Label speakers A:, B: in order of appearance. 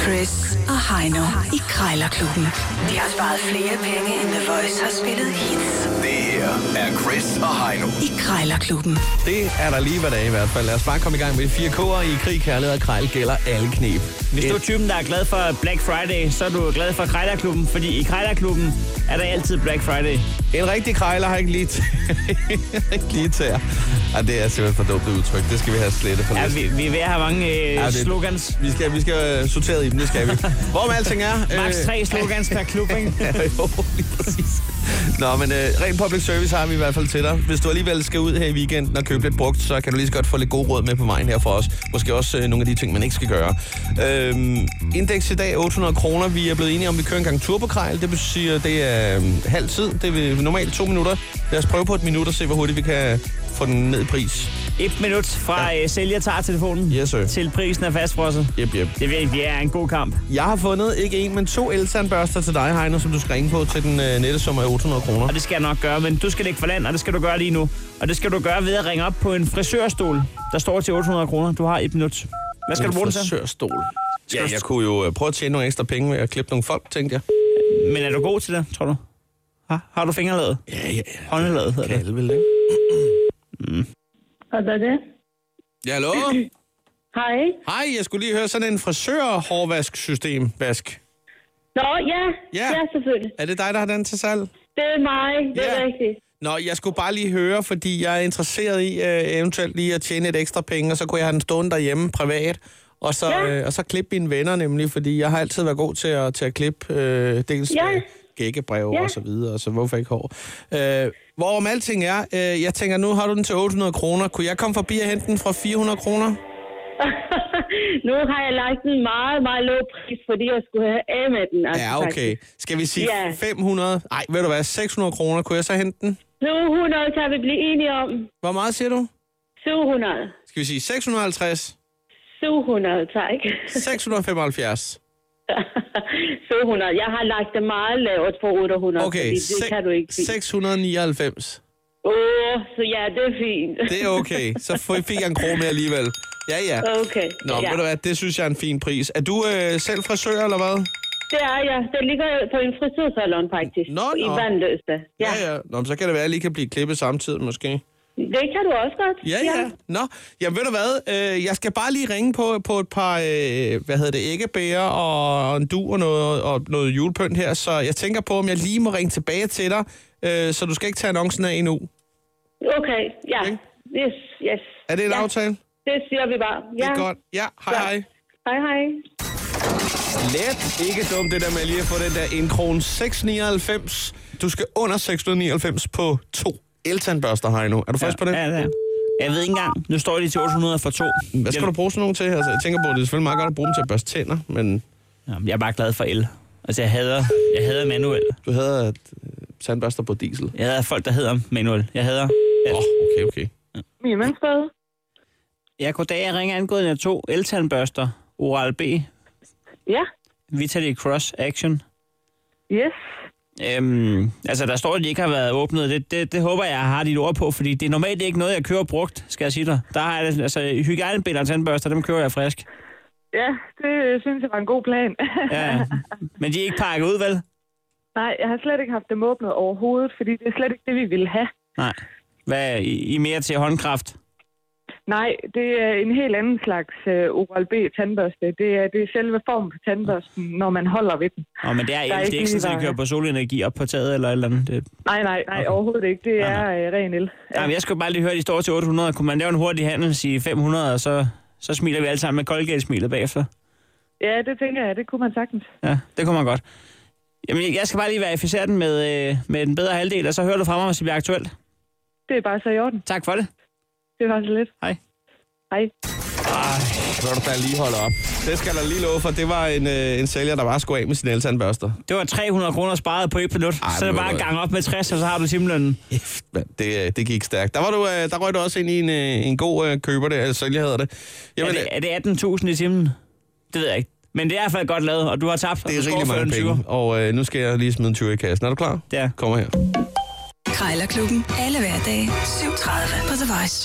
A: Chris og Heino i Krejlerklubben. De har sparet flere penge, end The Voice har spillet hits
B: Det her er Chris og Heino.
A: i Krejlerklubben.
C: Det er der lige hver dag i hvert fald. Lad os bare komme i gang med de fire K'er i krig, kærlighed og krejl gælder alle knep.
D: Hvis du er
C: Et-
D: typen, der er glad for Black Friday, så er du glad for Krejlerklubben, fordi i Krejlerklubben er der altid Black Friday.
C: En rigtig krejler har ikke lige, t- ikke lige tæer. Og det er simpelthen for dumt et udtryk. Det skal vi have slettet på
D: Ja,
C: listen.
D: vi, vi er ved at have mange øh,
C: Ja,
D: ja,
C: det-
D: slogans.
C: Vi skal, vi skal øh, sorteret i dem, det skal vi. Hvorom alting er... øh,
D: Max tre slogans per klub, ikke?
C: Ja, jo, lige præcis. Nå, men øh, ren public service har vi i hvert fald til dig. Hvis du alligevel skal ud her i weekenden og købe lidt brugt, så kan du lige så godt få lidt god råd med på vejen her for os. Måske også øh, nogle af de ting, man ikke skal gøre. Øhm, indeks i dag 800 kroner. Vi er blevet enige om, at vi kører en gang turbokrejl. Det betyder, det er øh, halv tid. Det er normalt to minutter. Lad os prøve på et minut og se, hvor hurtigt vi kan få den ned i pris.
D: Et minut fra øh, sælger tager telefonen
C: Yes, sir.
D: til prisen er fastfrosset.
C: Yep, yep.
D: Det virkelig er en god kamp.
C: Jeg har fundet ikke en, men to eltandbørster til dig, Heino, som du skal ringe på til den øh, nette sum af 800 kroner.
D: Og det skal jeg nok gøre, men du skal ikke for land, og det skal du gøre lige nu. Og det skal du gøre ved at ringe op på en frisørstol, der står til 800 kroner. Du har et minut. Hvad skal du bruge den til?
C: frisørstol.
D: du-
C: Ja, jeg kunne jo øh, prøve at tjene nogle ekstra penge ved at klippe nogle folk, tænkte jeg.
D: Men er du god til det, tror du? Har, har du fingerlaget?
C: Ja, ja, ja.
D: Håndlaget hedder det.
C: Alle vil ikke?
E: Og der er det.
C: Ja, hallo?
E: Hej.
C: Hej, jeg skulle lige høre sådan en frisør-hårvasksystem, Vask.
E: Nå, ja.
C: Ja.
E: Ja, selvfølgelig.
C: Er det dig, der har den til salg?
E: Det er mig. Det er
C: Ja.
E: rigtigt.
C: Nå, jeg skulle bare lige høre, fordi jeg er interesseret i øh, eventuelt lige at tjene et ekstra penge, og så kunne jeg have den stående derhjemme privat, og så,
E: Ja.
C: øh, og så klippe mine venner nemlig, fordi jeg har altid været god til at, til at klippe øh, dels
E: Ja.
C: ja. gækkebrev
E: Ja.
C: og så videre, så hvorfor ikke hår? Øh, hvorom alting er, øh, jeg tænker, nu har du den til 800 kroner. Kunne jeg komme forbi og hente den fra 400 kroner?
E: nu har jeg lagt en meget, meget lav pris, fordi jeg skulle have af med den. Altså,
C: Ja, okay.
E: faktisk.
C: Skal vi sige
E: Ja.
C: 500? Nej, ved du hvad, 600 kroner. Kunne jeg så hente den?
E: 700 kan vi blive enige om.
C: Hvor meget siger du?
E: 700.
C: Skal vi sige 650?
E: 700, tak.
C: 675?
E: 700. Jeg har lagt det meget lavt for 800,
C: Okay,
E: fordi det
C: se-
E: kan du ikke sige.
C: 699.
E: Åh, oh, så ja, det er fint.
C: Det er okay. Så f- fik jeg en krone med alligevel. Ja, ja.
E: Okay.
C: Nå, ja.
E: ja.
C: ved du hvad, det synes jeg er en fin pris. Er du øh, selv frisør, eller hvad?
E: Det er jeg. Det ligger på en frisørsalon, faktisk.
C: Nå,
E: I
C: nå.
E: Vandløse. Ja.
C: ja. Nå, men så kan det være, at jeg lige kan blive klippet samtidig, måske.
E: Det kan du også godt.
C: Ja, ja. Nå, jamen ved du hvad, øh, jeg skal bare lige ringe på, på et par, øh, hvad hedder det, æggebæger og, og en du og noget, og noget julepynt her, så jeg tænker på, om jeg lige må ringe tilbage til dig, øh, så du skal ikke tage annoncen af endnu.
E: Okay, ja. Yes, yes.
C: Er det en
E: ja.
C: aftale?
E: Det siger vi bare. Ja.
C: Det er godt. Ja, hej
E: Ja.
C: hej.
E: Hej, hej.
C: Let. Ikke dumt det der med lige at få den der 1 krone 699. Du skal under 699 på to eltandbørster, Heino. Er du frisk på det?
D: Ja, det er. Jeg ved ikke engang. Nu står de til 800 for to.
C: Hvad skal
D: jeg,
C: du bruge sådan nogle til? Altså, jeg tænker på, at det er selvfølgelig meget godt at bruge dem til at børste tænder, men
D: Jamen, jeg er bare glad for el. Altså, jeg hader, jeg hader manuel.
C: du havde øh, tandbørster på diesel.
D: Jeg hader folk, der hedder manuel. Jeg hader...
C: Åh, oh, okay, okay.
E: Mia Mansfred.
D: Ja, goddag. Jeg ringer angående af to eltandbørster. Oral B.
E: Ja.
D: Vitality Cross Action.
E: Yes.
D: Øhm, altså, der står, at de ikke har været åbnet. Det, det, det håber jeg har dit ord på, fordi det er normalt ikke noget, jeg kører brugt, skal jeg sige dig. Der har jeg, altså, hygiejnebinder og tandbørster, dem kører jeg frisk.
F: Ja, det synes jeg var en god plan.
D: Ja, men de er ikke pakket ud, vel?
F: Nej, jeg har slet ikke haft dem åbnet overhovedet, fordi det er slet ikke det, vi ville have.
D: Nej. Hvad, I, I er mere til håndkraft?
F: Nej, det er en helt anden slags øh, Oral-B tandbørste. Det er, det er selve formen på tandbørsten, når man holder ved den.
D: Nå, men det er,
F: Der er
D: el. Det er
F: ikke
D: ikke sådan, at
F: lige
D: det kører
F: veje.
D: på solenergi op på taget eller et eller andet. Det...
F: Nej, nej, nej,
D: Okay.
F: okay. overhovedet ikke. Det
D: Nej,
F: er øh, ren el.
D: Ja.
F: Ja.
D: Jamen, jeg skulle bare lige høre, at de står til 800. Kunne man lave en hurtig handel, sige 500, og så, så smiler vi alle sammen med koldgældsmilet bagefter?
F: ja, det tænker jeg, det kunne man sagtens.
D: Ja, det kunne man godt. Jamen, jeg- jeg skal bare lige verificere den med, øh, med den bedre halvdel, og så hører du fra mig, hvis det bliver aktuelt.
F: Det er bare så i orden.
D: Tak for det.
F: Det var så lidt.
D: Hej.
F: Hej.
C: Så kan du da lige holde op. Det skal der lige love for. Det var en, øh, en sælger, der bare skulle af med sin eltandbørster.
D: Det var 300 kroner sparet på et minut.
C: Ej,
D: så er det
C: men
D: bare
C: hvor-
D: gang op med 60, og så har du timelønnen.
C: Kæft, mand, Det, øh, det gik stærkt. Der, var du, øh, der røg du også ind i en, øh, en god øh, køber, der, eller sælger hedder det.
D: Er
C: Jamen,
D: det, er det 18.000 i timen? Det ved jeg ikke. Men det er i hvert fald godt lavet, og du har tabt. og
C: det
D: du
C: er
D: scorer
C: rigtig
D: for
C: mange
D: en
C: penge,
D: 20'er.
C: og øh, nu skal jeg lige smide en 20 i kassen. Er du klar?
D: Ja.
C: Kommer her.
A: Krejlerklubben. Alle hverdage. 7.30 på The Voice.